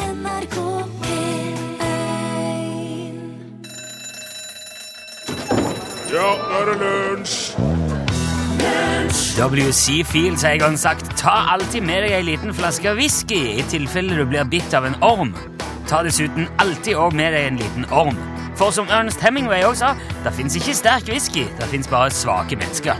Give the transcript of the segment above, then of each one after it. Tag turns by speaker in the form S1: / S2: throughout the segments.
S1: NRK P1
S2: Ja, nå er det lunsj!
S3: WC-fil, så jeg har sagt, ta alltid med deg en liten flaske whisky i tilfelle du blir bitt av en orm. Ta dessuten alltid også med deg en liten orm. For som Ernest Hemingway også sa, det finnes ikke sterk whisky, det finnes bare svake mennesker.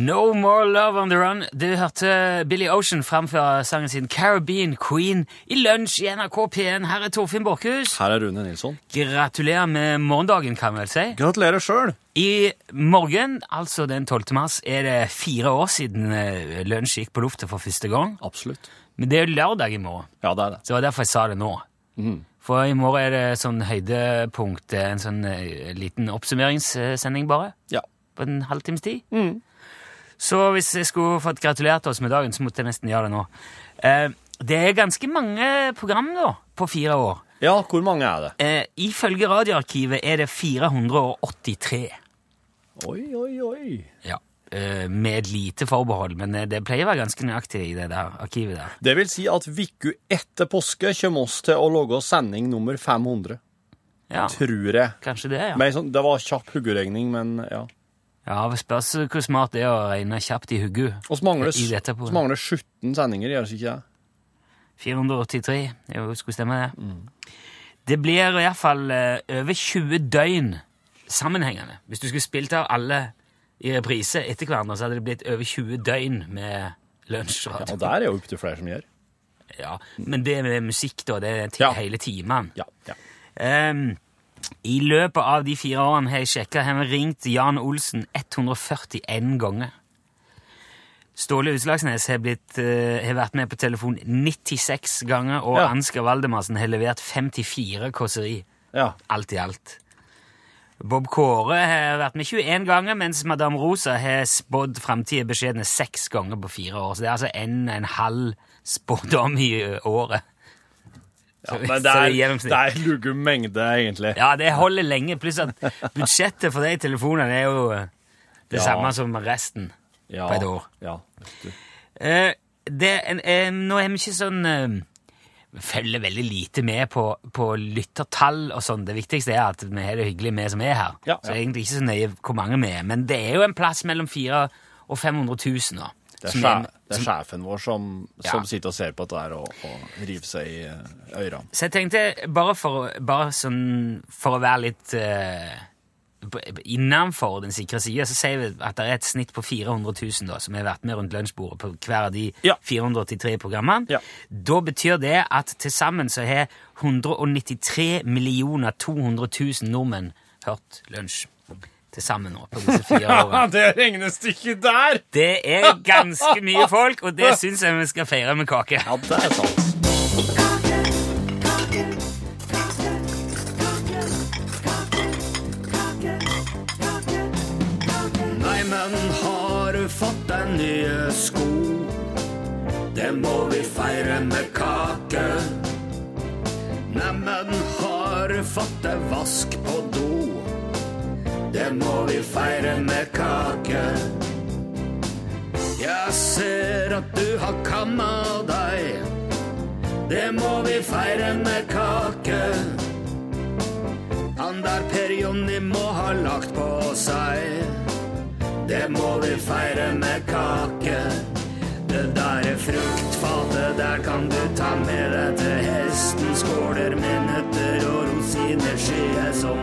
S3: No More Love On The Run. Du hørte Billy Ocean framføre sangen sin Caribbean Queen i lunsj i NRK P1. Her er Torfinn Borkhus.
S4: Her er Rune Nilsson.
S3: Gratulerer med morgendagen, kan vi vel si.
S4: Gratulerer sjøl!
S3: I morgen, altså den 12. mars, er det fire år siden eh, lunsj gikk på lufta for første gang.
S4: Absolutt.
S3: Men det er jo lørdag i morgen,
S4: Ja, det er det.
S3: så det var derfor jeg sa det nå. For i morgen er det sånn høydepunkt, eh, en sånn eh, liten oppsummeringssending bare,
S4: Ja.
S3: på en halvtimes tid. Så hvis jeg skulle fått gratulert oss med dagen, så måtte jeg nesten gjøre det nå. Eh, Det er ganske mange program nå, på fire år.
S4: ja, hvor mange er det?
S3: Eh, Ifølge Radioarkivet er det 483.
S4: Oi, oi, oi.
S3: Ja. eh, Med et lite forbehold, men eh, det pleier å være ganske nøyaktig i det der arkivet der.
S4: Det vil si at uka etter påske kommer oss til å lage sending nummer 500.
S3: Ja,
S4: Tror jeg.
S3: Kanskje det, ja.
S4: Men sånn, det var kjapp huggeregning, men ja.
S3: Ja, det Spørs eh, hvor smart det er å regne kjapt i huggu.
S4: Oss mangler,
S3: I dette på-
S4: oss mangler 17 sendinger, gjør det ikke det?
S3: 483, jo, skulle stemme det.
S4: Mm.
S3: Det blir i hvert fall eh, over 20 døgn sammenhengende. Hvis du skulle spilt av alle i reprise etter hverandre, så hadde det blitt over 20 døgn med
S4: Og
S3: lunsjradio.
S4: der er jo opptil flere som gjør.
S3: Ja, men det med musikk, da, det er ti-
S4: Ja.
S3: hele timen.
S4: Ja. ja.
S3: Ehm, I løpet av de fire årene har jeg sjekka, har vi ringt Jan Olsen 141 ganger. Ståle Utslagsnes har, blitt, eh, har vært med på telefon 96 ganger, og
S4: Ja.
S3: Ansgar Valdemarsen har levert 54 kåseri,
S4: ja.
S3: alt i alt. Bob Kåre har vært med 21 ganger, mens Madame Rosa har spådd framtida beskjedne seks ganger på fire år. Så det er altså en og en halv spådom i ø, året.
S4: ja.
S3: Så-
S4: Men det
S3: så i
S4: er,
S3: gjennomsnitt.
S4: det er lugge mengde, egentlig.
S3: Ja, det holder lenge, pluss at budsjettet for de telefonene er jo eh, det
S4: Ja.
S3: samme som resten
S4: Ja.
S3: på et år.
S4: Ja.
S3: Eh, det, en, en, nå er vi ikke sånn eh, vi følger veldig lite med på, på lyttertall og sånn. Det viktigste er at vi har det hyggelig, vi som er her.
S4: Ja,
S3: Så det
S4: ja.
S3: er egentlig ikke så nøye hvor mange vi er, men det er jo en plass mellom 400 og 500 000 da.
S4: Det er,
S3: som
S4: sje-
S3: er-
S4: det er sjefen vår som,
S3: Ja.
S4: som sitter og ser på dette her og, og river seg i eh, øyrene.
S3: Så jeg tenkte, bare for, å- bare sånn, for å være litt uh, innenfor den sikre sida, så sier vi at det er et snitt på 400 000 da, som har vært med rundt lunsjbordet på hver av de
S4: Ja.
S3: 483 programmene.
S4: Ja.
S3: Da betyr det at til sammen så har 193 millioner 200 000 nordmenn hørt lunsj. Til sammen nå, på disse fire årene.
S4: det regnestykket der!
S3: Det er ganske mye folk, og det syns jeg vi skal feire med kake.
S4: Ja, det er sant. Nei, men har du fått deg nye sko? Det må vi feire med kake. Nei, men har du fått deg vask på do? Det må vi feire med kake. Jeg ser at du har kamma deg. Det må vi feire med kake. Han der Per Jonny må ha lagt på seg. Det må vi feire med kake. Det der er fruktfatet, der kan du ta med deg til hesten. Skåler med nøtter og rosiner skyer som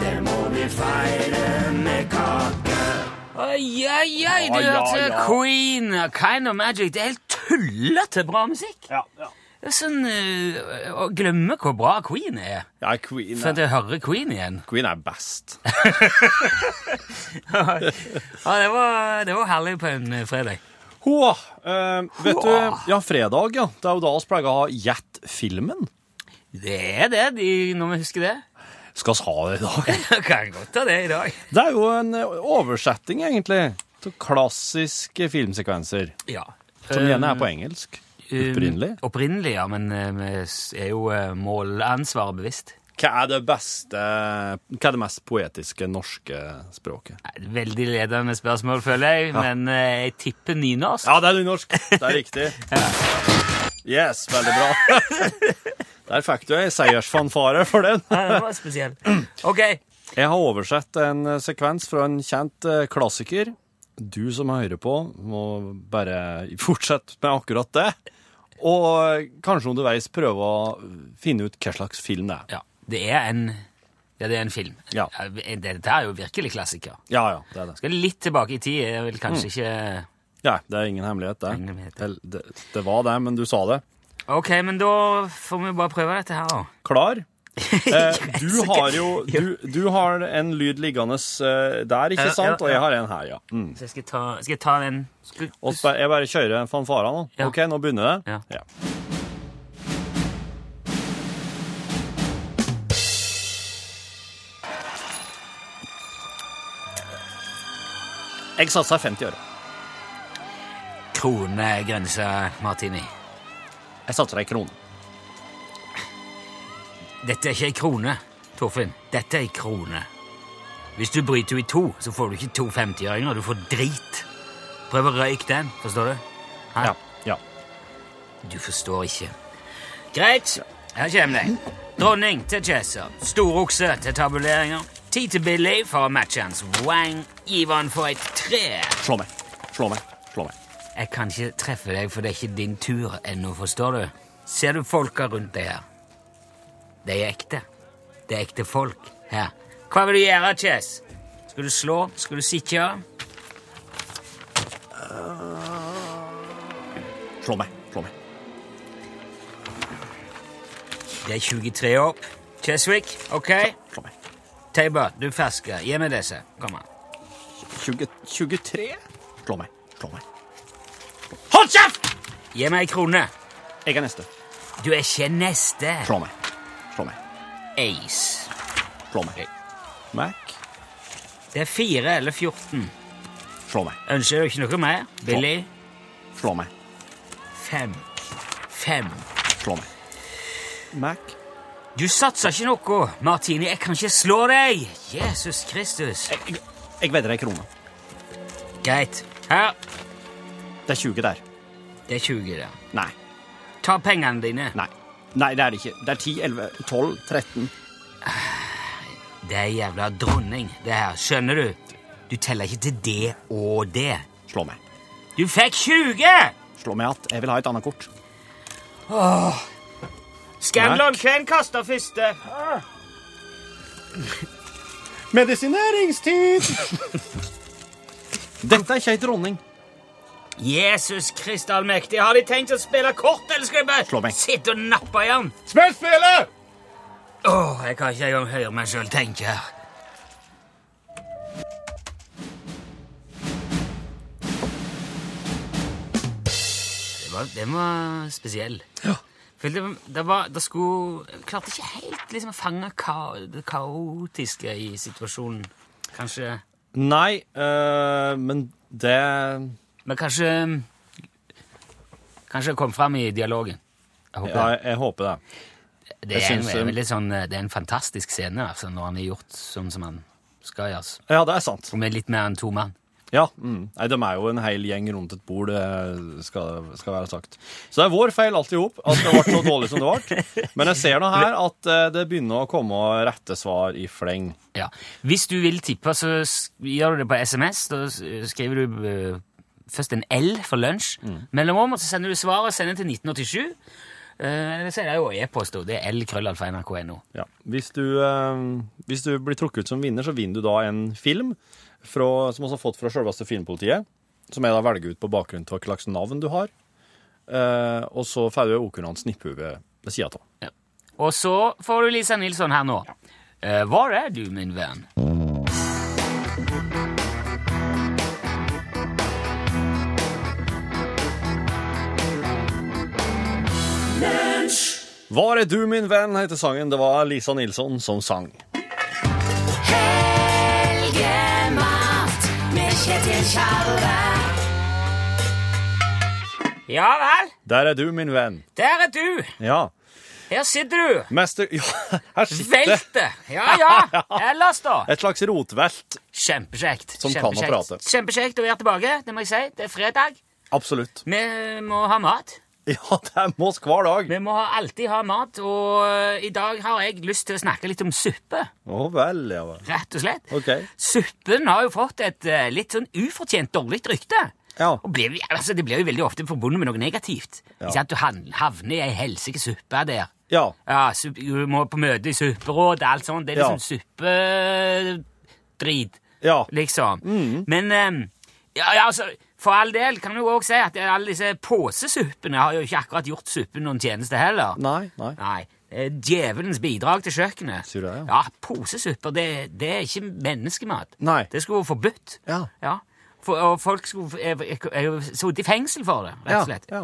S4: Det må vi feire med kake.
S3: Oi, oi, oi, du
S4: Ja, ja,
S3: hørte
S4: ja.
S3: Queen, Kind of Magic. Det er helt tullete bra musikk.
S4: Ja, ja.
S3: Det er sånn eh, Å glemme hvor bra Queen er,
S4: ja Queen,
S3: for at
S4: er,
S3: jeg hører Queen igjen.
S4: Queen er best.
S3: Ja, det var, det var herlig på en eh, fredag.
S1: Hoa. Eh, vet du, ja, fredag, ja. Det er jo da vi pleier å ha Gjett-filmen.
S3: Det er det, de, når vi husker det.
S1: Skal vi ha det i dag?
S3: kan godt ta det i dag.
S1: Det er jo en eh, oversetting, egentlig, til klassiske filmsekvenser.
S3: Ja.
S4: Eh,
S3: Um,
S1: Som gjerne er på engelsk. Eh, Opprinnelig.
S3: Opprinnelig, ja, men eh, vi s- er jo eh, målansvaret bevisst.
S1: Hva er det beste Hva er det mest poetiske norske språket?
S3: Nei, Veldig ledende spørsmål, føler jeg, men eh, jeg tipper nynorsk.
S1: Ja, det er nynorsk. Det er riktig. Yes, veldig bra. Der fikk du ei seiersfanfare for den.
S3: Ja, det var spesiell. Ok.
S1: Jeg har oversett en eh, sekvens fra en kjent eh, klassiker. Du som hører på, må bare fortsette med akkurat det. Og eh, kanskje underveis prøve å finne ut hva slags film det er.
S3: Ja, det er en, ja, det er en film.
S1: Ja.
S3: Dette er jo virkelig klassiker.
S1: Ja, ja, det er det.
S3: Skal litt tilbake i tid, er vel
S1: Mm.
S3: kanskje ikke...
S1: Ja, det er ingen hemmelighet, det.
S3: Ingen hemmelighet.
S1: Vel, det. Det var det, men du sa det.
S3: Ok, men da får vi bare prøve dette her, da.
S1: Klar? Eh, du har jo du, du har en lyd liggende eh, der,
S3: Ja,
S1: ikke sant?
S3: ja,
S1: Og
S3: ja.
S1: jeg har en her, ja. Mm.
S3: Så jeg skal ta, skal jeg ta den skal,
S1: Og så bare- jeg bare kjører fanfara nå.
S3: Ja.
S1: Ok, nå begynner det.
S3: Ja.
S1: Jeg satser 50 øre.
S3: Kronegrense martini.
S1: Jeg satser ei krone.
S3: Dette er ikke ei krone, Torfinn. Dette er ei krone. Hvis du bryter henne i to, så får du ikke to 50-øringer. Du får drit. Prøv å røyke den, forstår du? Hæ?
S1: Ja. ja.
S3: Du forstår ikke. Greit, her kommer det. Dronning til Chesser, storokse til tabuleringer, ti til Billy for å matche hans wang, giver han for et tre.
S1: Slå meg. Slå meg. Slå meg.
S3: Jeg kan ikke treffe deg, for det er ikke din tur ennå, forstår du? Ser du folka rundt deg her? De er ekte. Det er ekte folk her. Hva vil du gjøre, Chess? Skal du slå? Skal du sitte?
S1: Slå meg. Slå meg.
S3: Det er 23 opp. Cheswick, OK?
S1: Slå meg.
S3: Tabert, du ferske. Gi meg disse. Kom an.
S1: 20, 23? Slå meg. Slå meg. Hold kjeft!
S3: Gi meg ei krone.
S1: Jeg er neste.
S3: Du er ikke neste.
S1: Slå meg. Slå meg.
S3: Ace.
S1: Slå meg. Mac.
S3: Det er 4 eller 14.
S1: Slå meg.
S3: Ønsker du ikke noe mer? Billy?
S1: Slå meg.
S3: 5. 5.
S1: Slå meg. Mac.
S3: Du satser ikke noe, Martini. Jeg kan ikke slå deg! Jesus Kristus.
S1: Jeg, jeg vedder ei krone.
S3: Greit. Her.
S1: Det er 20 der.
S3: Det er 20 der.
S1: Nei.
S3: Ta pengene dine.
S1: Nei. Nei, det er det ikke. Det er 10, 11, 12, 13
S3: Det er jævla dronning, det her. Skjønner du? Du teller ikke til det og det.
S1: Slå meg.
S3: Du fikk 20!
S1: Slå meg att. Jeg vil ha et annet kort.
S3: Scanlon, hvem kaster første?
S1: Medisineringstid! Dette er ikke ei dronning.
S3: Jesus Krist allmektig, har de tenkt å spille kort, eller skal de
S1: Slå
S3: bare
S1: meg.
S3: sitte og nappe i den?
S2: Spill spillet!
S3: Åh, jeg kan ikke engang høre meg sjøl tenke her. Det var, den var spesiell. Ja. For det, det var, det skulle, jeg klarte ikke helt liksom, å fange ka, det kaotiske i situasjonen. Kanskje
S1: Nei, eh, men det
S3: Men kanskje Kanskje det kom fram i dialogen. Jeg håper
S1: Ja, jeg, jeg håper det.
S3: Det
S1: Jeg
S3: er, en,
S1: syns,
S3: en
S1: um,
S3: veldig sånn, eh, det er en fantastisk scene altså, når han er gjort sånn som han skal gjøres.
S1: Ja, det er sant.
S3: Og med litt mer enn to mann.
S1: Ja, mm. Nei, De er jo en hel gjeng rundt et bord, det skal, skal være sagt. Så det er vår feil alt i hop at det ble så dårlig som det ble. Men jeg ser nå her at eh, det begynner å komme rette svar i fleng.
S3: Ja. Hvis du vil tippe, så s- gjør du det på SMS. Da s- skriver du eh, først en L for lunsj
S1: Mm.
S3: mellomrom, og så sender du svaret og sender til 1987. Eh, Eller så er det jo e-post, og det er lkrøllalfa.nrk.no.
S1: Ja. Hvis, du, eh, hvis du blir trukket ut som vinner, så vinner du da en film fra, som vi har fått fra selveste filmpolitiet, som jeg da velger ut på bakgrunn av hva slags navn du har. Eh, og så får du okunnende snipphue ved sida av.
S3: Og så får du Lisa Nilsson her nå. Eh, hvor er du, min venn?
S1: Var er du, min venn, heter sangen. Det var Lisa Nilsson som sang.
S5: Helgemat med Kjetil Tjalve.
S3: Ja vel,
S1: Der er du, min venn.
S3: der er du.
S1: Ja.
S3: Her sitter du.
S1: Mester Ja, her sitter det.
S3: Velte! Ja, ja. Ellers, da.
S1: Et slags rotvelt.
S3: Kjempekjekt.
S1: Som kan å
S3: Kjempekjekt.
S1: prate.
S3: Kjempekjekt å være tilbake. Det må jeg si. Det er fredag.
S1: Absolutt.
S3: Vi må ha mat.
S1: Ja, det er med oss hver dag.
S3: Vi må ha, alltid ha mat, og eh, i dag har jeg lyst til å snakke litt om suppe.
S1: Å vel, ja vel.
S3: Rett og slett.
S1: Ok.
S3: Suppen har jo fått et eh, litt sånn ufortjent dårlig rykte.
S1: Ja.
S3: Og blir, altså, det blir jo veldig ofte forbundet med noe negativt.
S1: Ja.
S3: Ikke sant? Du han- havner i ei helsike suppe der.
S1: Ja.
S3: Ja, sup- Du må på møte i supperåd og alt sånt. Det er
S1: Ja.
S3: liksom suppedrit,
S1: Ja.
S3: liksom.
S1: Mm.
S3: Men eh, ja, ja, altså, for all del kan du jo også si at alle disse påsesuppene har jo ikke akkurat gjort suppen noen tjeneste heller.
S1: Nei, nei.
S3: Nei. det er Djevelens bidrag til kjøkkenet.
S1: Sier du det,
S3: ja? Posesupper, det, det er ikke menneskemat.
S1: Nei.
S3: Det skulle vært forbudt.
S1: Ja.
S3: For, og folk skulle eh, eh, sittet i fengsel for det, rett
S1: Ja,
S3: og slett.
S1: ja.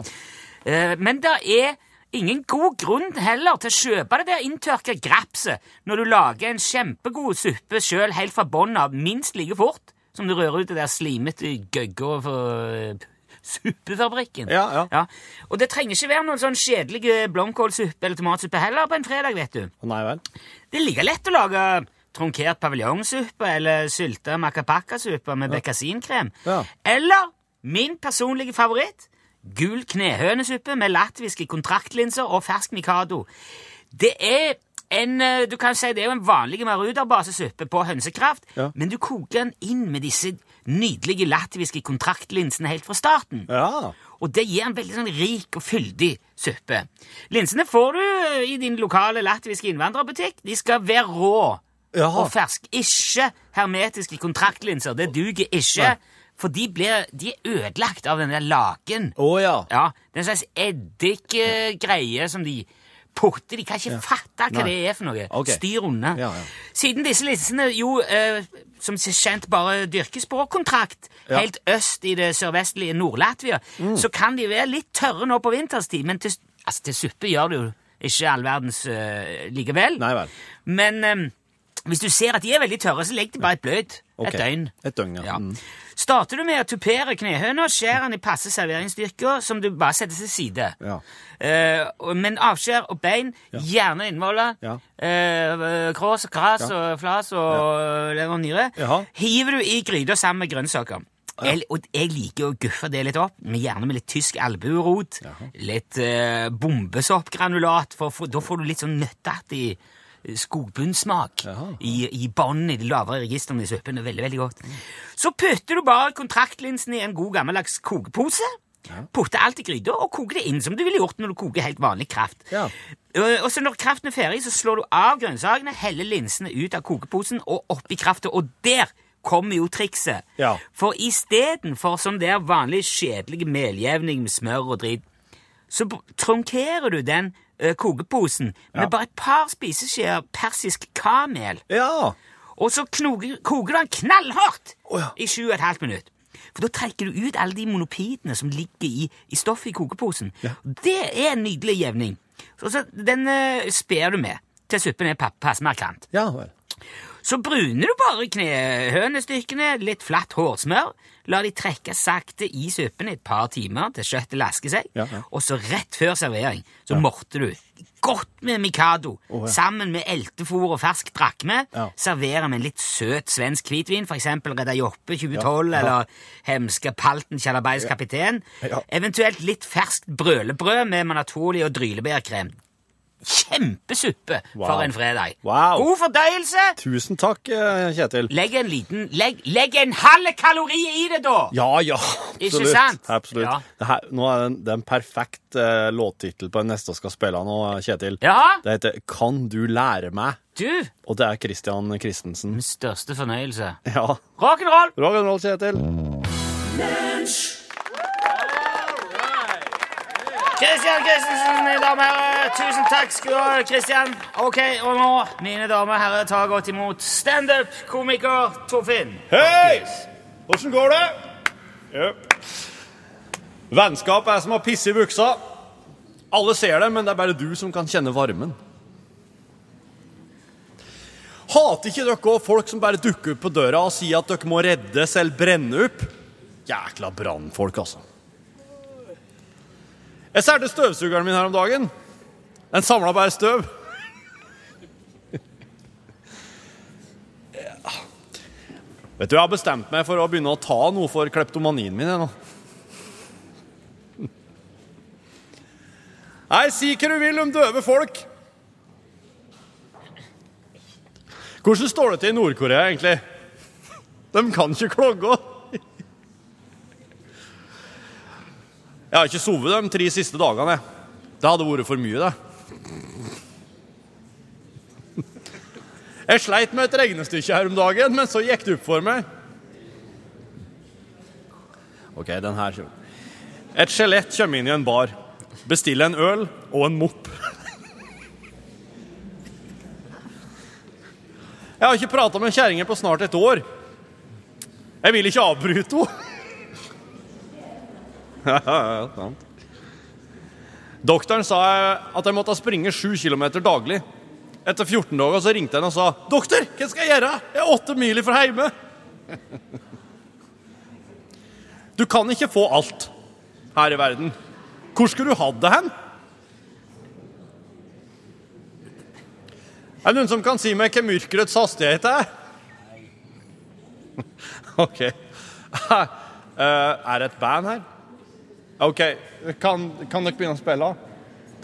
S3: Eh, Men det er ingen god grunn heller til å kjøpe det der inntørka grapset når du lager en kjempegod suppe sjøl helt fra bånn av minst like fort som du rører ut det der slimete gøgga for eh, suppefabrikken.
S1: Ja, ja.
S3: Og det trenger ikke være noen sånn kjedelig eh, blomkålsuppe eller tomatsuppe heller på en fredag, vet du.
S1: Nei vel.
S3: Det er like lett å lage tronkert paviljongsuppe eller sylta macapacasuppe med bekkasinkrem.
S1: Ja.
S3: Eller min personlige favoritt, gul knehønesuppe med latviske kontraktlinser og fersk mikado. Det er en, eh, du kan si det er jo en vanlig maruderbasesuppe på hønsekraft,
S1: Ja.
S3: men du koker den inn med disse nydelige latviske kontraktlinsene helt fra starten.
S1: Ja.
S3: Og det gir en veldig sånn rik og fyldig suppe. Linsene får du ø, i din lokale latviske innvandrerbutikk. De skal være rå
S1: Jaha.
S3: og ferske. Ikke hermetiske kontraktlinser. Det duger ikke. For de, blir, de er ødelagt av den der laken.
S1: Å ja.
S3: Ja, Det er en slags eddikgreie som de putter De kan ikke fatte hva
S1: Nei.
S3: det er for noe.
S1: Ok.
S3: Styr unna.
S1: Ja, ja.
S3: Siden disse linsene jo, eh, som kjent, bare dyrkes på kontrakt
S1: Ja. Mm.
S3: helt øst i det sørvestlige Nord-Latvia, så kan de være litt tørre nå på vinterstid, men til, altså, til suppe gjør det jo ikke all verdens eh, likevel.
S1: Nei vel.
S3: Men eh, hvis du ser at de er veldig tørre, så legg de bare i bløt
S1: Ok.
S3: et døgn.
S1: Et døgn, ja.
S3: Ja.
S1: Mm.
S3: Starter du med å tupere knehøna, skjær den i passe serveringsstyrker som du bare setter til side.
S1: Ja.
S3: Eh, og- men avskjær og bein, gjerne innvoller,
S1: Ja.
S3: eh, krås og gras og flas og lever og nyre,
S1: Jaha.
S3: hiver du i gryta sammen med grønnsaker. Jeg, og jeg liker å guffe det litt opp, men gjerne med litt tysk albuerot, litt eh, bombesoppgranulat, for, for da får du litt sånn nøtteaktig eh, skogbunnsmak i, i bånden i de lavere registrene i suppen. Det er Veldig, veldig godt. Så putter du bare kontraktlinsen i en god gammeldags kokepose. Putter alt i gryta og koker det inn som du ville gjort når du koker helt vanlig kraft.
S1: Ja.
S3: Eh, Og så Når kraften er ferdig, så slår du av grønnsakene, heller linsene ut av kokeposen og oppi krafta, og der kommer jo trikset.
S1: Ja.
S3: For istedenfor sånn der vanlig kjedelig meljevning med smør og drit, så b- tronkerer du den ø, kokeposen med bare et par spiseskjeer persisk kamel,
S1: Ja.
S3: og så knoger, koker du den knallhardt
S1: Å ja.
S3: i sju og et halvt minutt. For da trekker du ut alle de monopidene som ligger i, i stoffet i kokeposen. Det er en nydelig jevning. Så, så den ø, sper du med til suppen er pa- passe markant.
S1: Ja vel.
S3: Så bruner du bare knehønestykkene, litt flatt hårsmør, la de trekke sakte i suppen i et par timer til kjøttet lasker seg,
S1: Ja, ja.
S3: og så rett før servering så morter du godt med Mikado, sammen med eltefôr og fersk drakme,
S1: Ja.
S3: serverer med en litt søt svensk hvitvin, for eksempel Redda Joppe 2012, eller Hemske Palten Kjallabais kaptein,
S1: Ja.
S3: eventuelt litt ferskt brølebrød med manatoli og drylebærkrem. Kjempesuppe
S1: Wow.
S3: for en fredag.
S1: Wow.
S3: God fordøyelse!
S1: Tusen takk, eh, Kjetil.
S3: Legg en liten Legg, legg en halv kalori i det, da!
S1: Ja, ja. Absolutt.
S3: Ikke sant?
S1: Absolutt.
S3: Ja.
S1: Det, her, nå er det, en, det er en perfekt eh, låttittel på den neste jeg skal spille nå, eh, Kjetil.
S3: Ja.
S1: Det heter Kan du lære meg?
S3: Du!
S1: Og det er Christian Christensen.
S3: Min største fornøyelse.
S1: Ja.
S3: Rock'n'roll!
S1: Rock'n'roll, Kjetil.
S3: Christian Christensen, mine damer og herrer. Tusen takk skal du ha, Christian. Ok, og nå, mine damer og herrer, ta godt imot standup-komiker Torfinn.
S1: Hei! Åssen går det? Vennskap er som å pisse i buksa. Alle ser det, men det er bare du som kan kjenne varmen. Hater ikke dere også folk som bare dukker opp på døra og sier at dere må reddes eller brenne opp? Jækla brannfolk, altså. Jeg særte støvsugeren min her om dagen. Den samla bare støv. Ja. Vet du, Jeg har bestemt meg for å begynne å ta noe for kleptomanien min. Jeg, nå. Nei, si hva du vil om døve folk. Hvordan står det til i Nord-Korea, egentlig? De kan ikke klogge. Jeg har ikke sovet de tre siste dagene. jeg. Det hadde vært for mye, det. Jeg sleit med et regnestykke her om dagen, men så gikk det opp for meg. OK, den her kommer. Et skjelett kommer inn i en bar. Bestiller en øl og en mopp. Jeg har ikke prata med kjerringa på snart et år. Jeg vil ikke avbryte henne. Doktoren sa eh, at jeg måtte springe 7 km daglig. Etter 14 dager så ringte han og sa 'Doktor, hva skal jeg gjøre? Jeg er åtte mil fra hjemme.' Du kan ikke få alt her i verden. Hvor skulle du hatt det hen? Er det noen som kan si meg hva mørkerets hastighet er? OK. Eh, er det et band her? OK. Kan, kan dere begynne å spille?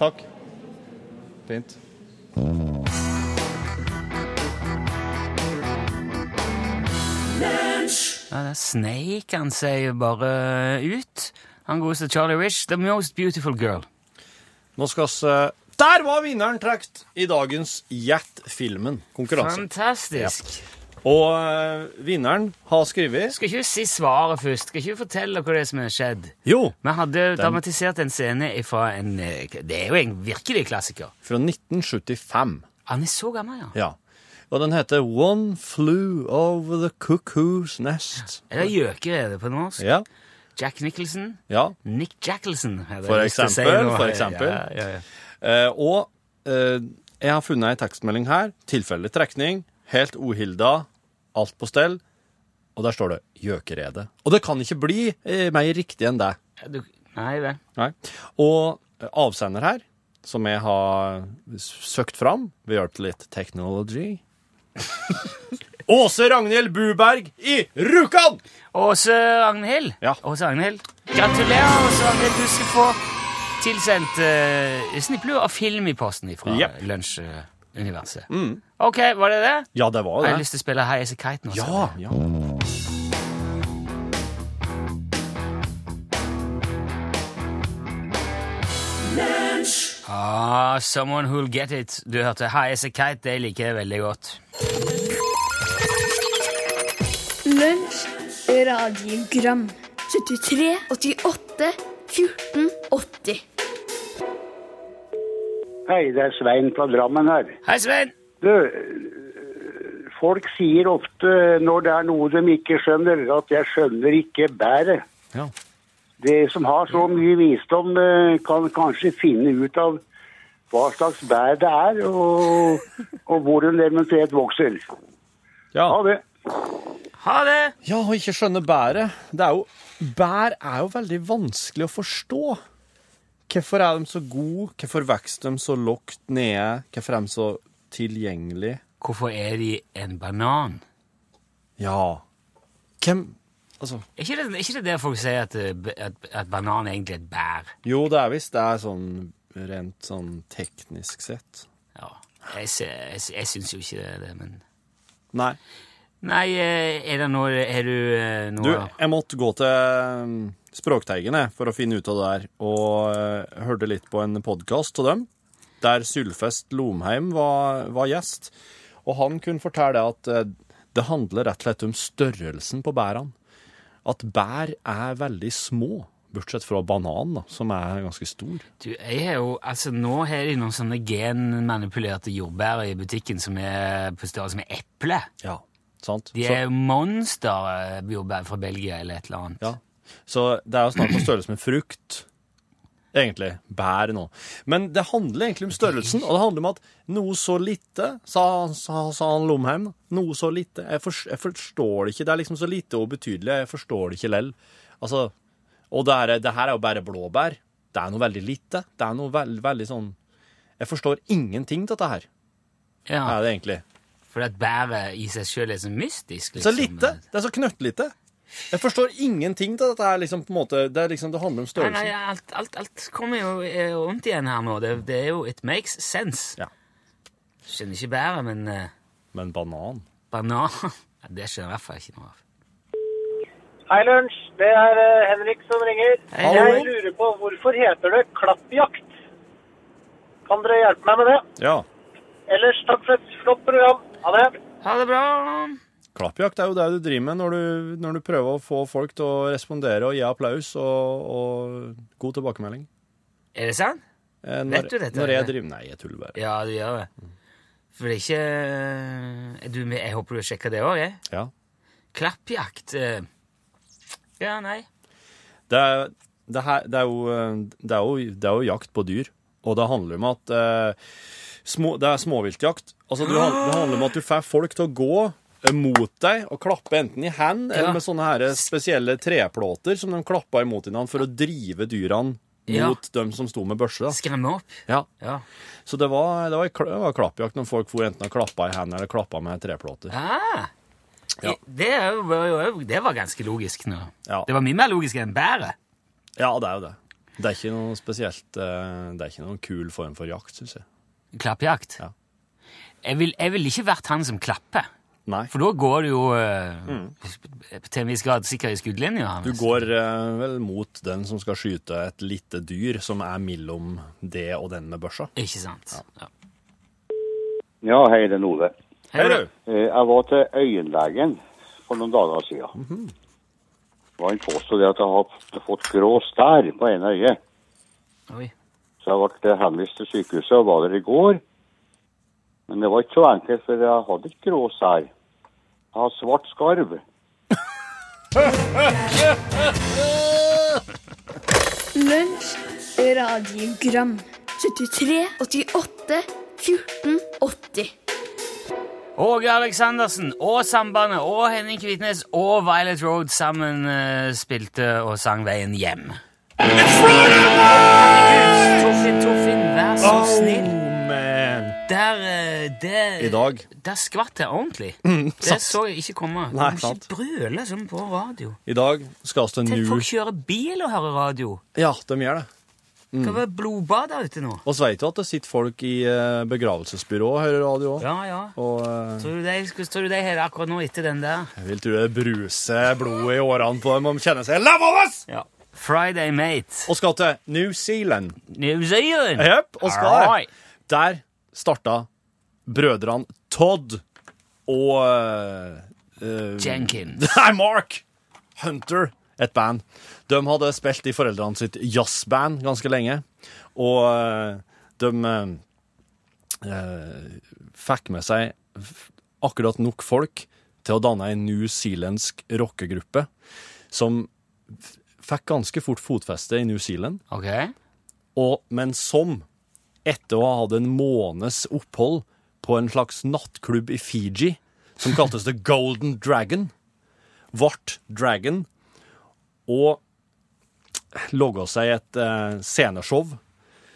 S1: Takk. Fint.
S3: Ja, Da sneik han seg jo bare eh, ut. Han godeste Charlie Rich, the most beautiful girl.
S1: Nå skal oss eh, Der var vinneren trukket i dagens Gjett-filmen. Konkurranse.
S3: Fantastisk.
S1: Og eh, vinneren har skrevet
S3: Skal ikke du si svaret først? Skal ikke du fortelle hva det er som har skjedd?
S1: Jo,
S3: Vi hadde dramatisert en scene fra en eh, Det er jo en virkelig klassiker.
S1: fra 1975.
S3: Han er så gammel, ja.
S1: Ja. Og den heter One Flew Over the Cuckoo's Nest.
S3: Er det gjøkeredet på norsk?
S1: Ja.
S3: Jack Nicholson?
S1: ja.
S3: Nick Jackelson. er det
S1: For
S3: jeg lyst til å si
S1: eksempel,
S3: nå.
S1: for eksempel.
S3: Ja, ja, ja.
S1: Eh, og eh, jeg har funnet ei tekstmelding her. Tilfeldig trekning. Helt uhilda. Alt på stell. Og der står det 'Gjøkeredet'. Og det kan ikke bli eh, mer riktig enn det.
S3: Ja, Du, nei vel.
S1: Nei. Og eh, avsender her, som jeg har s- søkt fram ved hjelp til litt technology Åse Ragnhild Buberg i Rjukan!
S3: Åse Agnhild.
S1: Ja.
S3: Åse Agnhild. Gratulerer, Åse Agnhild. Du skal få tilsendt uh, snipplue av film i posten fra
S1: Jepp.
S3: Lunsjuniverset. OK, var det det?
S1: Mm. Ja, det var
S3: Jeg har
S1: det.
S3: lyst til å spille High As A Kite nå. altså?
S1: Ja,
S3: ser jeg.
S1: ja.
S3: Ah, someone who'll get it. Du hørte High As A Kite, det liker jeg veldig godt.
S6: Lunsj, radiogram 73, 88, 14, 80
S7: Hei, det er Svein fra Drammen her.
S3: Hei, Svein!
S7: Du, øh, folk sier ofte når det er noe de ikke skjønner, at 'jeg skjønner ikke bæret'.
S1: Ja.
S7: De som har så mye visdom, øh, kan kanskje finne ut av hva slags bær det er, og, og hvor den eventuelt vokser.
S1: ja.
S7: Ha det.
S3: Ha det!
S1: Ja, og ikke skjønne bæret. Det er jo, bær er jo veldig vanskelig å forstå. Hvorfor er de så gode? Hvorfor vokser de så lågt nede? Hvorfor er de så tilgjengelige?
S3: Hvorfor er de en banan?
S1: Ja. Hvem Altså
S3: Er ikke det, er ikke det der folk sier at, eh, b- at, at banan er egentlig et bær?
S1: Jo, det er visst det er sånn rent sånn teknisk sett.
S3: Ja, jeg, sy- jeg, sy- jeg syns jo ikke det, er det, men
S1: Nei.
S3: Nei, eh, er det noe Er du eh,
S1: Du,
S3: noe
S1: jeg måtte gå til mm, Språkteigen jeg, for å finne ut av det der, og eh, hørte litt på en podkast av dem, der Sylfest Lomheim var, var gjest. Og han kunne fortelle at eh, det handler rett og slett om størrelsen på bærene. At bær er veldig små, bortsett fra banan, da, som er ganske stor.
S3: Du, jeg har jo Altså, nå har de noen sånne genmanipulerte jordbær i butikken som er på størrelse med eple.
S1: Ja. Sant?
S3: De
S1: Så-
S3: er eh, monsterjordbær fra Belgia eller et eller annet.
S1: Ja. Så det er jo snart på størrelse med frukt. egentlig. Bær nå. Men det handler egentlig om størrelsen, og det handler om at noe så lite, sa, sa, sa han Lomheim, noe så lite. Jeg, for, jeg forstår det ikke. Det er liksom så lite og ubetydelig. Jeg forstår det ikke lell. Altså, og det, er, det her er jo bare blåbær. Det er noe veldig lite. Det er noe veld, veldig sånn Jeg forstår ingenting av dette her,
S3: Ja,
S1: er det egentlig.
S3: Fordi at bæret i seg sjøl er så mystisk. liksom.
S1: Så lite. Det er så knøttlite. Jeg forstår ingenting av dette her, liksom, på en måte. Det, er liksom, det handler om
S3: Nei,
S1: størrelsen.
S3: nei, alt, alt, alt kommer jo eh, rundt igjen her nå. Det, det er jo It makes sense.
S1: Ja.
S3: Skjønner ikke bæret, men eh,
S1: Men banan
S3: banan ja, Det skjønner jeg i hvert fall ikke noe av.
S8: Hei, Lunsj. Det er eh, Henrik som ringer.
S3: Hei,
S8: Jeg
S3: Henrik.
S8: lurer på hvorfor heter det klappjakt? Kan dere hjelpe meg med det?
S1: Ja.
S8: Ellers takk for et flott program. Ha det.
S3: Ha det bra!
S1: Klappjakt er jo det du driver med når du, når du prøver å få folk til å respondere og gi applaus og, og god tilbakemelding.
S3: Er det sant?
S1: Eh, Når,
S3: Vet du dette,
S1: Når jeg
S3: eller?
S1: driver Nei, jeg tuller bare.
S3: Ja, det gjør det. For det er ikke eh, du, med- Jeg håper du sjekker det òg, jeg.
S1: Ja.
S3: Klappjakt eh, Ja, nei.
S1: Det, er, det, her, det, er jo, eh, det, er jo, det er jo jakt på dyr, og det handler om at eh, små, Det er småviltjakt. Altså, du, han- det handler om at du får folk til å gå eh, mot deg og klappe enten i hand
S3: Ja.
S1: eller med sånne her spesielle treplåter som de klappa imot hverandre for å drive dyrene
S3: Ja.
S1: mot dem som sto med børse. Da.
S3: Skremme opp.
S1: Ja.
S3: Ja.
S1: Så det var, det var, kla- det var klappjakt når folk for enten og klappa i hendene eller klappa med treplåter.
S3: Ah.
S1: Ja.
S3: Det, er jo- var jo- det var ganske logisk nå.
S1: Ja.
S3: Det var mye mer logisk enn bæret.
S1: Ja, det er jo det. Det er ikke noe spesielt eh, Det er ikke noen kul form for jakt, syns jeg.
S3: Klappjakt.
S1: Ja.
S3: Jeg ville vil ikke vært han som klapper,
S1: Nei.
S3: for da går du jo eh, til en viss grad sikkert i
S1: Mm.
S3: skuddlinja.
S1: Du
S3: Johannes.
S1: går eh, vel mot den som skal skyte et lite dyr som er mellom det og den med børsa.
S3: Ikke sant? Ja.
S7: Ja, hei, det er Ole.
S1: Hei, du!
S7: Eh, Jeg var til øyenlegen for noen dager siden. Og han påstod det at jeg har fått grå stær på ene øyet.
S3: Oi.
S7: Så jeg ble eh, henvist til sykehuset og var der i går. Men det var ikke så enkelt, for jeg hadde ikke grå stær. Jeg har svart skarv.
S6: Lunsj, radiogram 73 88 14 80
S3: Åge Aleksandersen og Sambandet og Henning Kvitnes og Violet Road sammen eh, spilte og sang Veien hjem. Torfinn, Torfinn, vær så snill.
S1: man!
S3: Der, eh, det,
S1: I dag. Mm,
S3: der skvatt jeg ordentlig. Det
S1: sant.
S3: så jeg ikke komme. Du
S1: Nei,
S3: må
S1: sant.
S3: ikke brøle sånn på radio.
S1: I dag skal vi til
S3: Tenk,
S1: New
S3: folk kjører bil og hører radio.
S1: Ja, de gjør det.
S3: Det
S1: Mm.
S3: kan være blodbad der ute nå.
S1: Og så vet du at det sitter folk i eh, begravelsesbyrå og hører radio òg.
S3: Ja, ja.
S1: Og eh,
S3: Tror du de, skulle- tror du de har det akkurat nå etter den der?
S1: jeg vil tro det bruser blodet i årene på dem og de kjenner seg levende!
S3: Ja. Friday Mate.
S1: og skal til New Zealand.
S3: New Zealand.
S1: Jep, og skal.
S3: Alright.
S1: Der starta brødrene Todd og eh, eh,
S3: Jenkins.
S1: Nei, Mark Hunter, et band. De hadde spilt i foreldrene sitt jazzband ganske lenge, og eh, de eh, eh, fikk med seg f- akkurat nok folk til å danne en New Zealandsk rockegruppe som f- fikk ganske fort fotfeste i New Zealand.
S3: Ok.
S1: Og, men som, etter å ha hatt en måneds opphold på en slags nattklubb i Fiji, som kaltes The Golden Dragon, vart Dragon, og logga seg et eh, sceneshow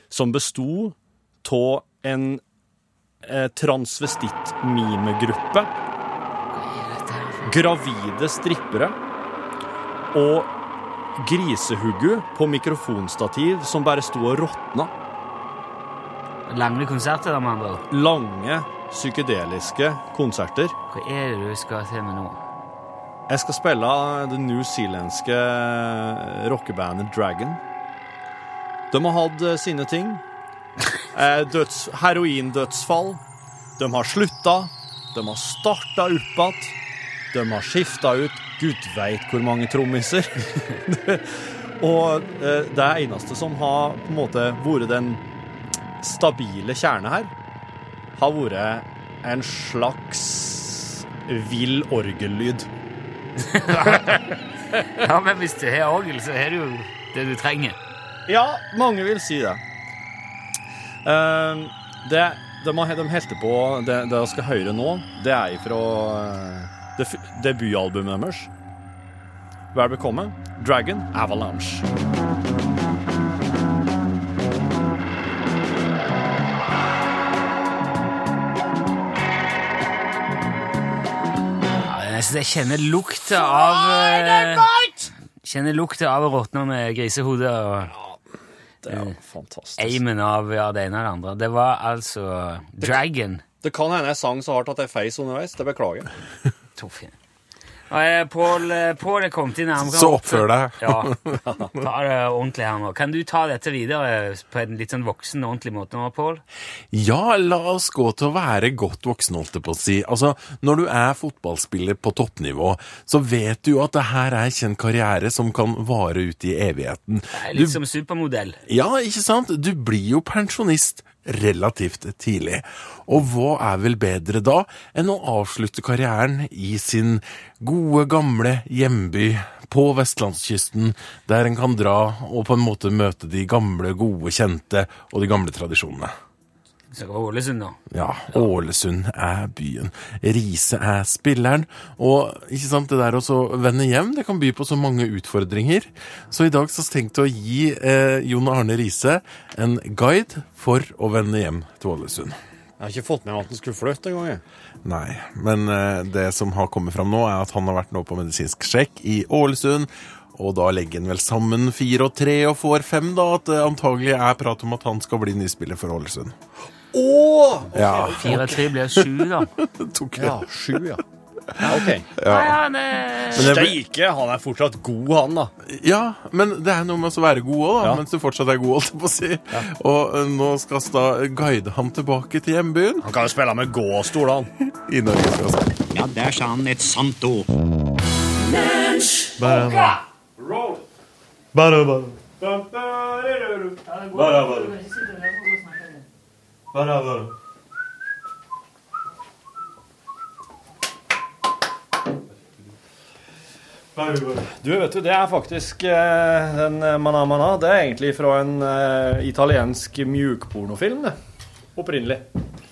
S1: som bestod av en eh, transvestitt-mimegruppe, gravide strippere og grisehuggu på mikrofonstativ som bare sto og råtna.
S3: Lange konserter, da, med andre ord.
S1: Lange, psykedeliske konserter.
S3: Hva er det du skal til med nå?
S1: Jeg skal spille det newzealandske rockebandet Dragon. De har hatt eh, sine ting. Eh, Døds, heroindødsfall. De har slutta. De har starta opp igjen. De har skifta ut gud veit hvor mange trommiser. Og eh, det er eneste som har på en måte vært den stabile kjerne her, har vært en slags vill orgellyd.
S3: Ja, men hvis du har orgel, så har du jo det du trenger.
S1: Ja, mange vil si det. Ehm, det de, har, de helte på Det det jeg skal høre nå, det er fra eh, det f- debutalbumet deres. Vær bekomme. Dragon Avalanche.
S3: Ja, Jeg synes jeg kjenner lukta av eh, Kjenner lukta av råtna med grisehodet
S1: altså.
S3: og
S1: Det er jo fantastisk.
S3: eimen av ja, det ene og det andre. Det var altså Dragon.
S1: Det kan hende jeg sang så hardt at jeg feis underveis. Det beklager.
S3: Torfinn. Og, eh, Pål, eh, Pål er kommet inn nærmere.
S9: Så oppfør deg.
S3: Ja, ta det ordentlig her nå. Kan du ta dette videre på en litt sånn voksen, ordentlig måte nå, Pål?
S9: Ja, la oss gå til å være godt voksen, holdt jeg på å si. Altså, når du er fotballspiller på toppnivå, så vet du at det her er kjent karriere som kan vare ut i evigheten.
S3: Det er
S9: Du
S3: Litt som supermodell.
S9: Ja, ikke sant? Du blir jo pensjonist relativt tidlig. Og hva er vel bedre da enn å avslutte karrieren i sin gode, gamle hjemby på vestlandskysten, der en kan dra og på en måte møte de gamle, gode kjente og de gamle tradisjonene.
S3: Så det var Ålesund nå.
S9: Ja, Ålesund er byen. Riise er spilleren. Og ikke sant, det der å så vende hjem det kan by på så mange utfordringer. Så i dag så tenkte jeg å gi eh, Jon Arne Riise en guide for å vende hjem til Ålesund.
S1: Jeg har ikke fått med meg at den skulle flytte engang. jeg.
S9: Nei, men eh, det som har kommet fram nå, er at han har vært nå på medisinsk sjekk i Ålesund. Og da legger han vel sammen fire og tre og får fem, da. At det antagelig er prat om at han skal bli nyspiller for Ålesund. Ja,
S3: 4-3 blir 7, da.
S9: tok det.
S1: Ja, sju, ja. ja ok.
S3: Ja, ja, det...
S9: Men det blir-
S1: Steike, han er fortsatt god, han, da.
S9: Ja, men det er noe med å være god òg, da.
S1: Ja.
S9: Mens du fortsatt er god, holdt jeg på å si. Og eh, nå skal vi da guide ham tilbake til hjembyen.
S1: Han kan jo spille med gåstol, han.
S9: I Norge skal vi si.
S4: Ja, der sa han et sant ord.
S1: Du, vet du, det er faktisk eh, den eh, Mana Mana. Det er egentlig fra en eh, italiensk mjukpornofilm, det. Opprinnelig.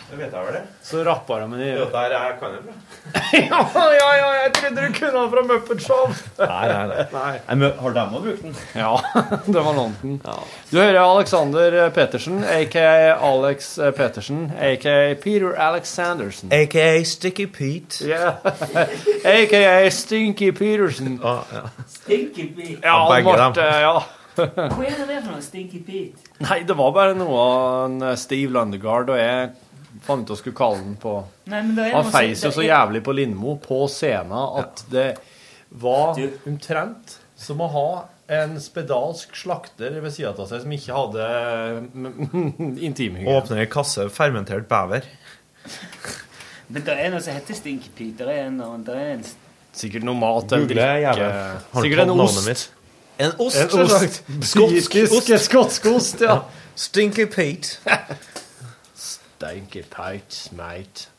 S9: Det vet jeg vel, det.
S1: Så rappa de den i ja,
S9: Der er kan jeg fra.
S1: ja, ja, jeg trodde du kunne den fra Muppet Show!
S9: Nei, nei, nei. Har de òg brukt den?
S1: Ja, det var lånt den. Du hører Alexander eh, Petersen, aka Alex eh, Petersen, aka Peter Alexandersen.
S10: AKA Sticky Pete.
S1: Ja. AKA Stinky Petersen.
S3: Stinky Pete.
S1: Ja, han
S9: begge
S1: ble,
S9: dem.
S1: eh, ja.
S3: Hva er det for noe? Stinky Pete?
S1: Nei, det var bare noe han, eh, Steve Lundegard og jeg fant ut å skulle kalle den på
S3: Nei, men det er
S1: Han
S3: noe
S1: feis
S3: som-
S1: jo så jævlig på Lindmo på scenen at det var omtrent som å ha en spedalsk slakter ved sida av seg som ikke hadde mm, intimhygiene.
S10: Åpner ei kasse fermentert bever.
S3: Men det er noe som heter Stinky Pete. Det er en, det er en
S1: Sikkert noe mat eller
S10: Google er
S1: drikke.
S10: jævlig.
S1: Sikkert en ost.
S10: En ost,
S1: En ost.
S10: Skotsk ost.
S1: Skotsk- Skotsk ost, ja.
S10: Stinky Pete.
S1: Stanky peit, mate.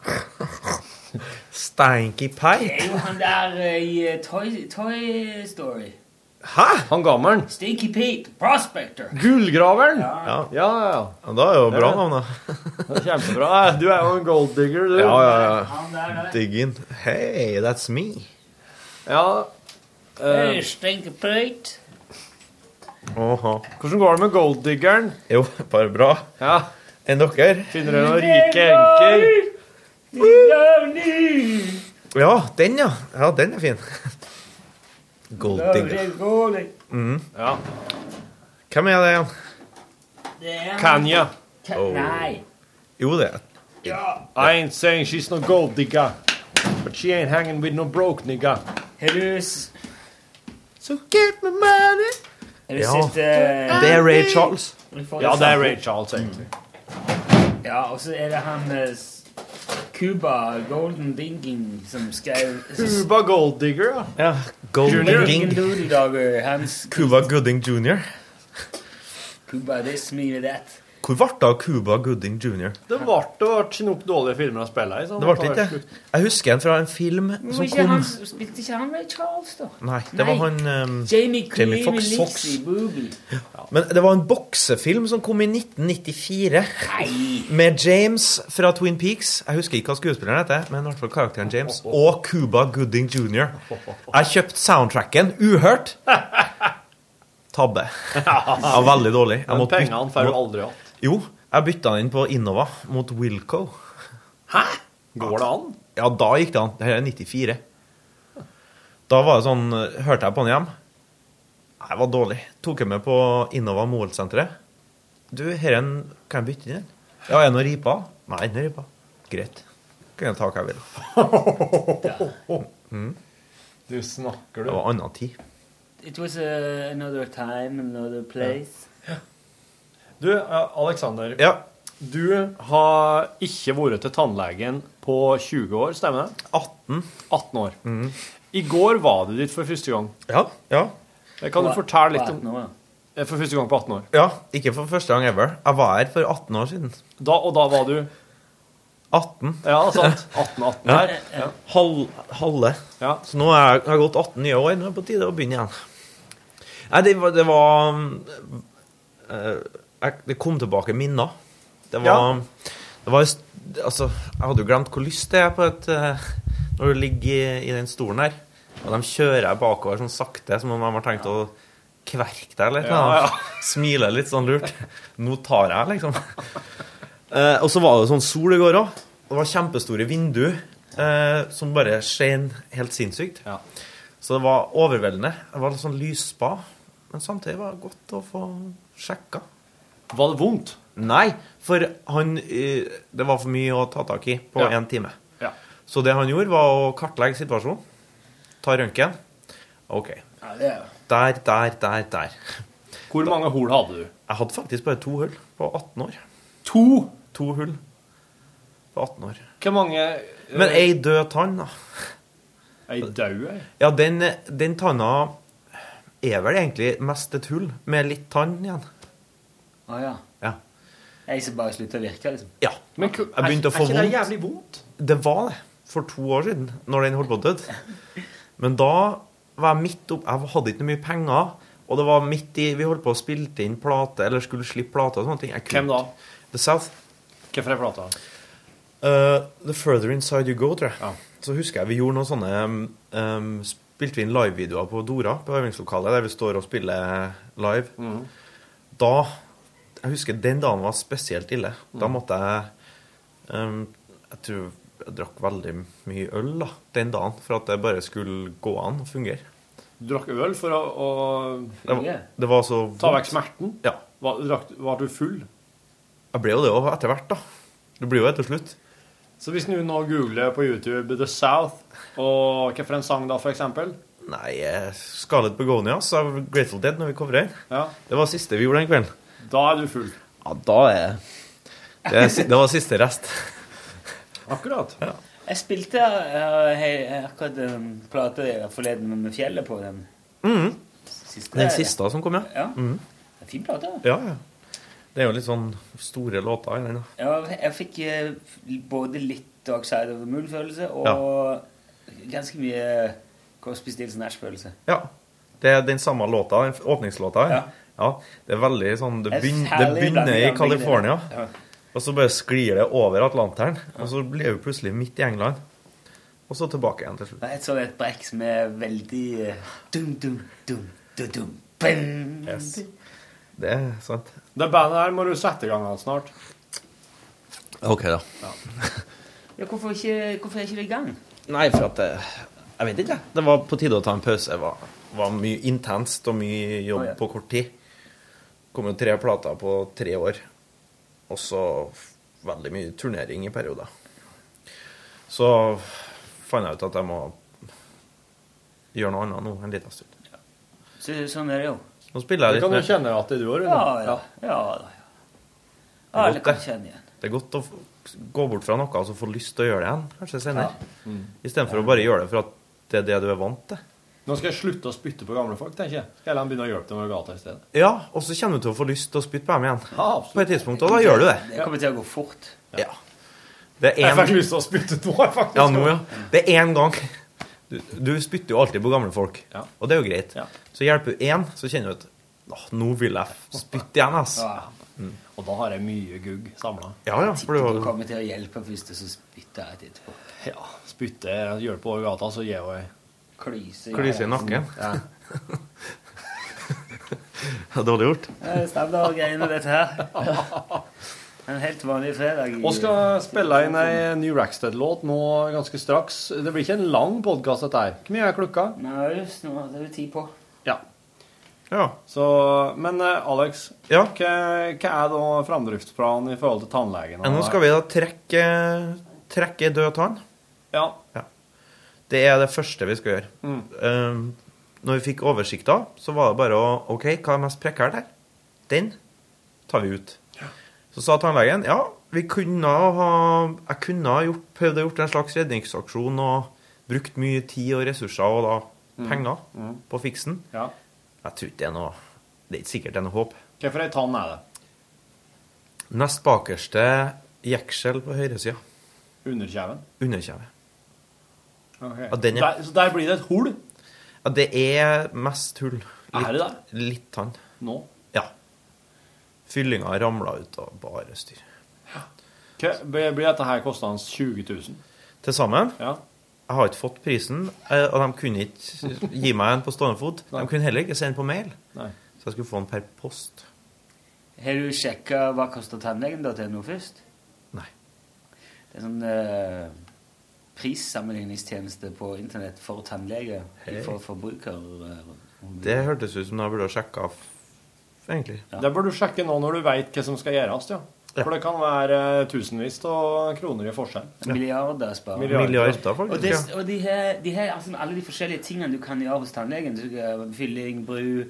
S10: Stanky
S3: Det
S10: Pete.
S3: er jo han der eh, i eh, Toy, Toy Story.
S10: Hæ?
S1: Han gammelen.
S3: Stinky Pete, Prospector.
S1: Gullgraveren.
S10: Ja.
S1: Ja, ja. ja.
S10: Ja, da er jo bra navn, da.
S1: Kjempebra. Du er jo en golddigger, du.
S10: Ja, ja, ja.
S3: Han der, der.
S10: Diggin. Hey, that's me.
S1: Ja,
S3: Hey, Stinky Pete.
S10: Aha.
S1: Hvordan går det med golddiggeren?
S10: Jo, bare bra.
S1: Ja,
S10: Enn dere?
S1: Finner dere noen rike enker?
S10: Ja, den, ja. Ja, den er fin. Gold digger.
S1: Ja.
S10: Hvem er det igjen?
S3: Det er han.
S1: Kanya.
S10: Oh.
S3: Nei.
S10: Jo, det er
S1: I ain't saying she's no gold digger, but she ain't hanging with no broke nigga.
S3: Har du, s-
S1: So get me money.
S3: har du
S10: Ja.
S3: sett eh,
S10: Det er Ray Charles.
S1: Ja, det er Ray Charles, egentlig.
S3: Ja, og så er det han eh, s- Cuba Golden Dinging som skrev
S10: Mm.
S1: Cuba gold digger, ja.
S10: Ja. Gold
S1: Junior.
S10: digging.
S3: Doodledogger. Hans
S10: Cuba Gooding Jr.
S3: Cuba this, me that.
S10: Hvor ble det av Cuba Gooding jr.?
S1: Det ble ikke nok dårlige filmer å spille i.
S10: Det ble ikke det. Jeg husker en fra en film som
S11: ikke
S10: kom
S11: han, spilte ikke han Ray Charles, da?
S10: Nei, det var han ehm,
S11: Jamie Clean
S10: Foxx.
S11: Fox. Lixie Booby.
S10: Men det var en boksefilm som kom i 1994 med James fra Twin Peaks. Jeg husker ikke hva skuespilleren heter, men i hvert fall karakteren James. Og Cuba Gooding jr. Jeg kjøpte soundtracken uhørt. Tabbe. Jeg var veldig dårlig. Jeg
S1: Men
S10: måtte bytte-
S1: pengene får du aldri igjen.
S10: Jo, jeg bytta den inn på Innova mot Wilco. Hæ?
S1: Går det an?
S10: Ja, da gikk det an. Det her er 94. Da var det sånn Hørte jeg på den hjem? Nei, Jeg var dårlig. Tok jeg med på Innova Moholt-senteret. Du, her er en Kan jeg bytte inn den? Ja, er det noe ripa? Nei, den er ripa. Greit. Kan jeg ta hva jeg vil. Mm.
S1: Du snakker,
S10: Det var anna tid.
S11: It was
S3: eh,
S11: uh, another time, another place.
S1: Du, eh, Alexander.
S10: Ja.
S1: Du har ikke vært til tannlegen på 20 år, stemmer det?
S10: 18.
S1: 18 år.
S10: Mm.
S1: I går var du dit for første gang. Eh,
S10: Ja. ja.
S1: Kan du
S10: På-
S1: fortelle
S10: på
S1: litt om
S10: 18 år,
S1: Eh, For første gang på 18 år.
S10: Ja, ikke for første gang ever. Jeg var her for 18 år siden.
S1: Da, og da var du
S10: 18.
S1: Ja, sant. 18, 18 her. Ja.
S10: Halv, halve. Så nå er- har jeg gått 18 nye år. Nå er det på tide å begynne igjen. Nei, det var Det, var, mm, eh, jeg- det kom tilbake minner. Det
S1: Ja.
S10: var, det var s- Altså, jeg hadde jo glemt hvor lyst det er på et eh, Når du ligger i, i den stolen her, og de kjører deg bakover sånn sakte, som om de har tenkt å kverke deg litt.
S1: Ja, ja.
S10: Smile litt sånn lurt. Nå tar jeg, liksom. Eh, og så var det sånn sol i går òg. Det var kjempestore vinduer eh, som bare skein helt sinnssykt. Så det var overveldende. Det var litt sånn lysspa, men samtidig var det godt å få sjekka.
S1: Var det vondt?
S10: Nei, for han eh, Det var for mye å ta tak i på
S1: Ja.
S10: én time.
S1: Ja.
S10: Så det han gjorde, var å kartlegge situasjonen. Ta røntgen. OK. Der, der, der, der.
S1: Hvor mange hull hadde du?
S10: Jeg hadde faktisk bare to hull på 18 år.
S1: To?
S10: To hull på 18 år.
S1: Hvor mange eh,
S10: Men ei død tann, da.
S1: Ei død ei?
S10: Ja, den, den tanna er vel egentlig mest et hull, med litt tann igjen.
S11: Å ja.
S10: Ja.
S11: Jeg som bare slutta å virke, liksom.
S10: Ja. jeg begynte å få vondt.
S1: vondt?
S10: Det var det for to år siden, når den holdt på å dø. Men da var jeg midt opp Jeg hadde ikke mye penger. Og det var midt i Vi holdt på å spilte inn plate, eller skulle slippe plate og sånne ting. Jeg kunne
S1: Hvem da?
S10: The South.
S1: Hvorfor er plata?
S10: Uh, the Further Inside You Go, tror jeg. Så husker jeg vi gjorde noen sånne um, um, Spilte vi inn livevideoer på Dora, på øvingslokalet, der vi står og spiller live.
S1: Mhm.
S10: Da Jeg husker den dagen var spesielt ille. Da
S1: Mhm.
S10: måtte jeg um, Jeg tror jeg drakk veldig mye øl da, den dagen for at det bare skulle gå an å fungere.
S1: Du drakk øl for å, å
S10: Det var, det var så
S1: Ta
S10: vondt.
S1: vekk smerten?
S10: Ja.
S1: Var, drakk, var du full?
S10: Jeg ble jo det òg etter hvert, da. Du blir jo det til slutt.
S1: Så hvis du nå googler på YouTube The South, og hva for en sang da, for eksempel?
S10: Nei, eh, Scarlet Begonias av Grateful Dead når vi covrer.
S1: Ja.
S10: Det var siste vi gjorde den kvelden.
S1: Da er du full.
S10: Ja, da er Det, er, si- det var siste rest.
S1: Akkurat.
S11: Jeg spilte eh, he- akkurat en plate der forleden med fjellet på den.
S10: Mhm.
S11: Siste,
S10: Den siste som kom, ja.
S11: Ja.
S10: Mhm.
S11: Det er en Fin plate. da.
S10: ja, ja. Det er jo litt sånn store låter i den. da.
S11: Ja, jeg fikk eh, både litt Dark Side of the Moon-følelse og ganske mye Crosby Stills Nash-følelse.
S10: Ja. Det er den samme låta, den åpningslåta. Ja. ja. Det er veldig sånn Det,
S11: Det er
S10: begyn, det
S11: herlig
S10: begynner
S11: blanding
S10: i
S11: av begge
S10: California,
S11: deler. Ja.
S10: og så bare sklir det over Atlanteren, og så blir vi plutselig midt i England. Og så tilbake igjen til slutt.
S11: Det er et sånt et brekk som er veldig eh, dum, dum, dum, dum, dum, bum.
S10: Yes. Det er sant.
S1: Det bandet her må du sette i gang av snart.
S10: OK, da.
S11: Ja, hvorfor, ikke, hvorfor er ikke det i gang?
S10: Nei, for at det, Jeg vet ikke. jeg. Det var på tide å ta en pause. Det var, var mye intenst og mye jobb
S11: Å, ja.
S10: på kort tid. Kom jo tre plater på tre år. Og så f- veldig mye turnering i perioder. Så fant jeg ut at jeg må gjøre noe annet nå en liten stund.
S11: Så, sånn er det jo.
S10: Nå spiller jeg litt mer.
S1: at det er du òg,
S11: Ja, ja. ja, da, ja. Alle
S10: godt,
S11: kan
S10: det.
S11: kjenne igjen.
S10: Det er godt å f- gå bort fra noe og så få lyst til å gjøre det igjen, kanskje senere.
S11: Ja. Mm.
S10: Istedenfor å bare gjøre det for at det er det du er vant til.
S8: Nå skal jeg slutte å spytte på gamle folk, tenker jeg. Skal jeg la dem begynne å hjelpe dem med gata i stedet?
S10: Ja, og så kommer du til å få lyst til å spytte på dem igjen. på et tidspunkt, og da gjør du det.
S3: Det kommer til å gå fort.
S10: Ja. Det er
S8: Jeg
S10: en...
S8: fikk lyst til å spytte nå, jeg faktisk.
S10: Ja, nå, ja. Det er én gang. Du, du spytter jo alltid på gamle folk, og det er jo greit. Så hjelper du én, så kjenner du at «Åh, nå vil jeg f- spytte igjen, ass.
S3: Ja.
S10: Mm.
S8: Og da har jeg mye gugg samla.
S10: Ja, ja, for det var-
S3: Du kommer til å hjelpe først, og så spytter jeg etterpå.
S8: Ja, spytte hjelpe over gata, så gir jeg
S3: Klyse
S10: Klise i nakken.
S8: Ja.
S10: Ja, Dårlig gjort.
S3: Det er standardgreiene, dette her. En helt vanlig fredag. i-
S8: Og skal spille inn ei ny Rackstead-låt nå ganske straks. Det blir ikke en lang podkast, dette her. Hvor mye er klokka?
S3: Nei, just nå det er jo tid på.
S8: Ja.
S10: ja.
S8: Så, men eh, Alex, hva, hva er da framdriftsplanen i forhold til tannlegen?
S10: Ja, nå skal vi da trekke, trekke død tann.
S8: Ja.
S10: Det er det første vi skal gjøre.
S8: Mm.
S10: Um, når vi fikk oversikta, så var det bare å OK, hva er mest prekært her? Den tar vi ut. Så sa tannlegen ja, vi kunne ha Jeg kunne ha gjort, prøvd å gjort en slags redningsaksjon og brukt mye tid og ressurser og da
S8: Mm.
S10: penger
S8: Mm.
S10: på fiksen.
S8: Ja.
S10: Jeg tror ikke det er noe Det er ikke sikkert det er noe håp.
S8: Hvorfor ei tann er det?
S10: Nest bakerste jeksel på høyresida.
S8: Underkjeven?
S10: Underkjeve.
S8: Ok.
S10: Ja, den er-
S8: der, så der blir det et hull?
S10: Ja, det er mest hull.
S8: Er det det?
S10: Litt tann.
S8: Nå?
S10: Ja. Fyllinga ramla ut av bare styr.
S8: Hva, blir blir dette her kostende 20 000?
S10: Til sammen
S8: Ja.
S10: Jeg har ikke fått prisen, eh, og de kunne ikke gi meg en på stående fot. De kunne heller ikke sende på mail,
S8: Nei.
S10: så jeg skulle få den per post.
S3: Har du sjekka hva koster tannlegen da til nå først?
S10: Nei.
S3: Det er sånn eh, prissammenligningstjeneste på internett for tannleger.
S10: Hei.
S3: For forbruker. eh,
S10: Det hørtes ut som jeg burde ha sjekka, egentlig.
S8: Det bør du sjekke nå når du veit hva som skal gjøres. Ja. For det kan være eh, tusenvis av kroner i forskjell.
S3: Milliarder sparer.
S10: Milliarder, faktisk,
S3: Og, det,
S10: ja.
S3: og de har, de har altså, alle de forskjellige tingene du kan gjøre hos tannlegen. Du kan- Fylling, bru,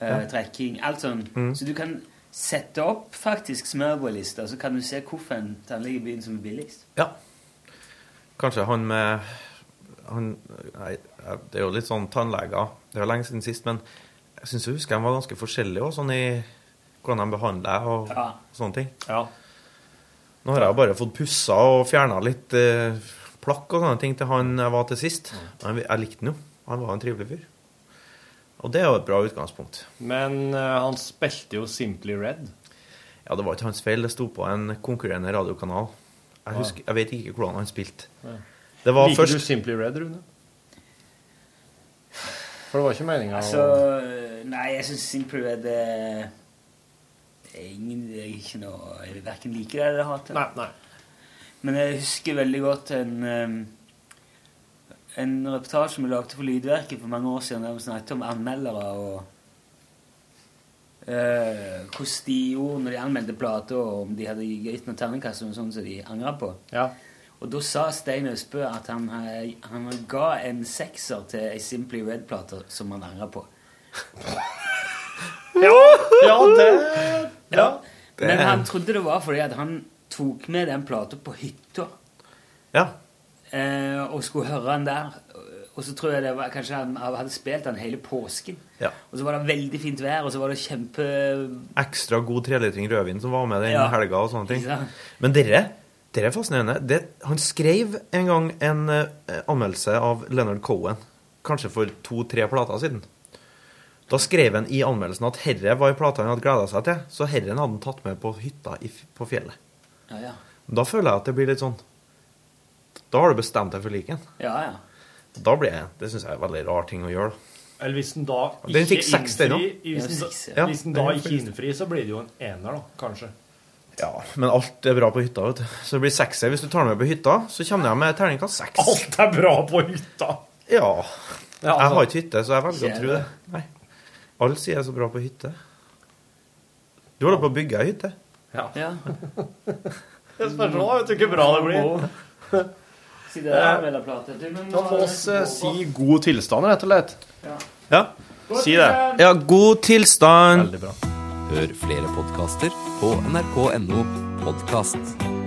S3: eh,
S10: Ja.
S3: trekking, alt sånn.
S10: Mm.
S3: Så du kan sette opp faktisk smørbrødlister, så kan du se hvilken tannlege i byen som er billigst.
S10: Ja. Kanskje han med han, Nei, det er jo litt sånn tannleger. Det er jo lenge siden sist, men jeg syns jeg husker de var ganske forskjellige også, sånn i hvordan de behandler og
S3: Ja.
S10: sånne ting.
S8: Ja.
S10: Nå har jeg bare fått pussa og fjerna litt eh, plakk og sånne ting til han jeg var til sist.
S8: Mm.
S10: Men jeg likte han jo. Han var en trivelig fyr. Og det er jo et bra utgangspunkt.
S8: Men eh, han spilte jo Simply Red.
S10: Ja, det var ikke hans feil. Det sto på en konkurrerende radiokanal. Jeg,
S8: Ah.
S10: husker, jeg vet ikke hvordan han spilte.
S8: Nei.
S10: Det var
S8: Liker
S10: først
S8: du Simply Red, Rune? For det var ikke meninga
S3: Altså, nei, jeg syns Simple Red eh, det er ingen, det er ikke noe Jeg verken liker det eller hater det. Men jeg husker veldig godt en eh, en reportasje vi lagde for Lydverket for mange år siden der vi snakket om anmeldere og eh, hvordan de gjorde når de anmeldde plater, og om de hadde gitt noen terningkast og noe sånt som de angret på. Og da sa Stein Østbø at han, eh, han ga en sekser til ei Simply Red-plate som han angret på.
S8: ja, ja, det
S3: Ja.
S10: Det-
S3: Men han trodde det var fordi at han tok med den plata på hytta.
S10: Ja.
S3: Eh, og skulle høre den der. Og så tror jeg det var, kanskje han hadde spilt den hele påsken.
S10: Ja.
S3: Og så var det veldig fint vær, og så var det kjempe
S10: ekstra god trelitring rødvin som var med den
S3: Ja.
S10: helga og sånne ting.
S3: Ja.
S10: Men dere, dere er fascinerende. Det, han skrev en gang en eh, anmeldelse av Leonard Cohen, kanskje for to-tre plater siden. Da skrev han i anmeldelsen at herre var en plate han hadde gleda seg til, så herren hadde han tatt med på hytta i, f- på fjellet.
S3: Ja, ja.
S10: Da føler jeg at det blir litt sånn Da har du bestemt deg for liken.
S3: Ja, ja.
S10: Da blir jeg, Det syns jeg er en veldig rar ting å gjøre. da.
S8: Eller hvis den da ikke
S10: Den fikk seks, den
S8: innfri-
S10: også.
S8: Hvis den,
S10: Ja,
S8: da-
S10: seks, ja.
S8: hvis den
S10: Ja,
S8: da
S10: den
S8: ikke
S10: fikk-
S8: innfri, så blir det jo en ener, da. Kanskje.
S10: Ja, Men alt er bra på hytta. vet du. Så det blir sekser. Hvis du tar den med på hytta, så kommer jeg med terningkast seks.
S8: Alt er bra på hytta!
S10: Ja.
S8: Ja, altså.
S10: Jeg har ikke hytte, så jeg velger
S8: Ser
S10: å tro det. Nei. Alle sier jeg er så bra på hytte. Du holder på å bygge ei hytte.
S8: Ja.
S3: Det
S8: spørs nå, vet du, hvor bra det blir.
S3: Sitter der og melder plate. Du, men
S8: Da må oss eh, si god tilstand, rett og slett.
S3: Ja.
S8: Si det.
S10: Ja, god tilstand.
S8: Veldig bra.
S9: Hør flere podkaster på nrk.no podkast.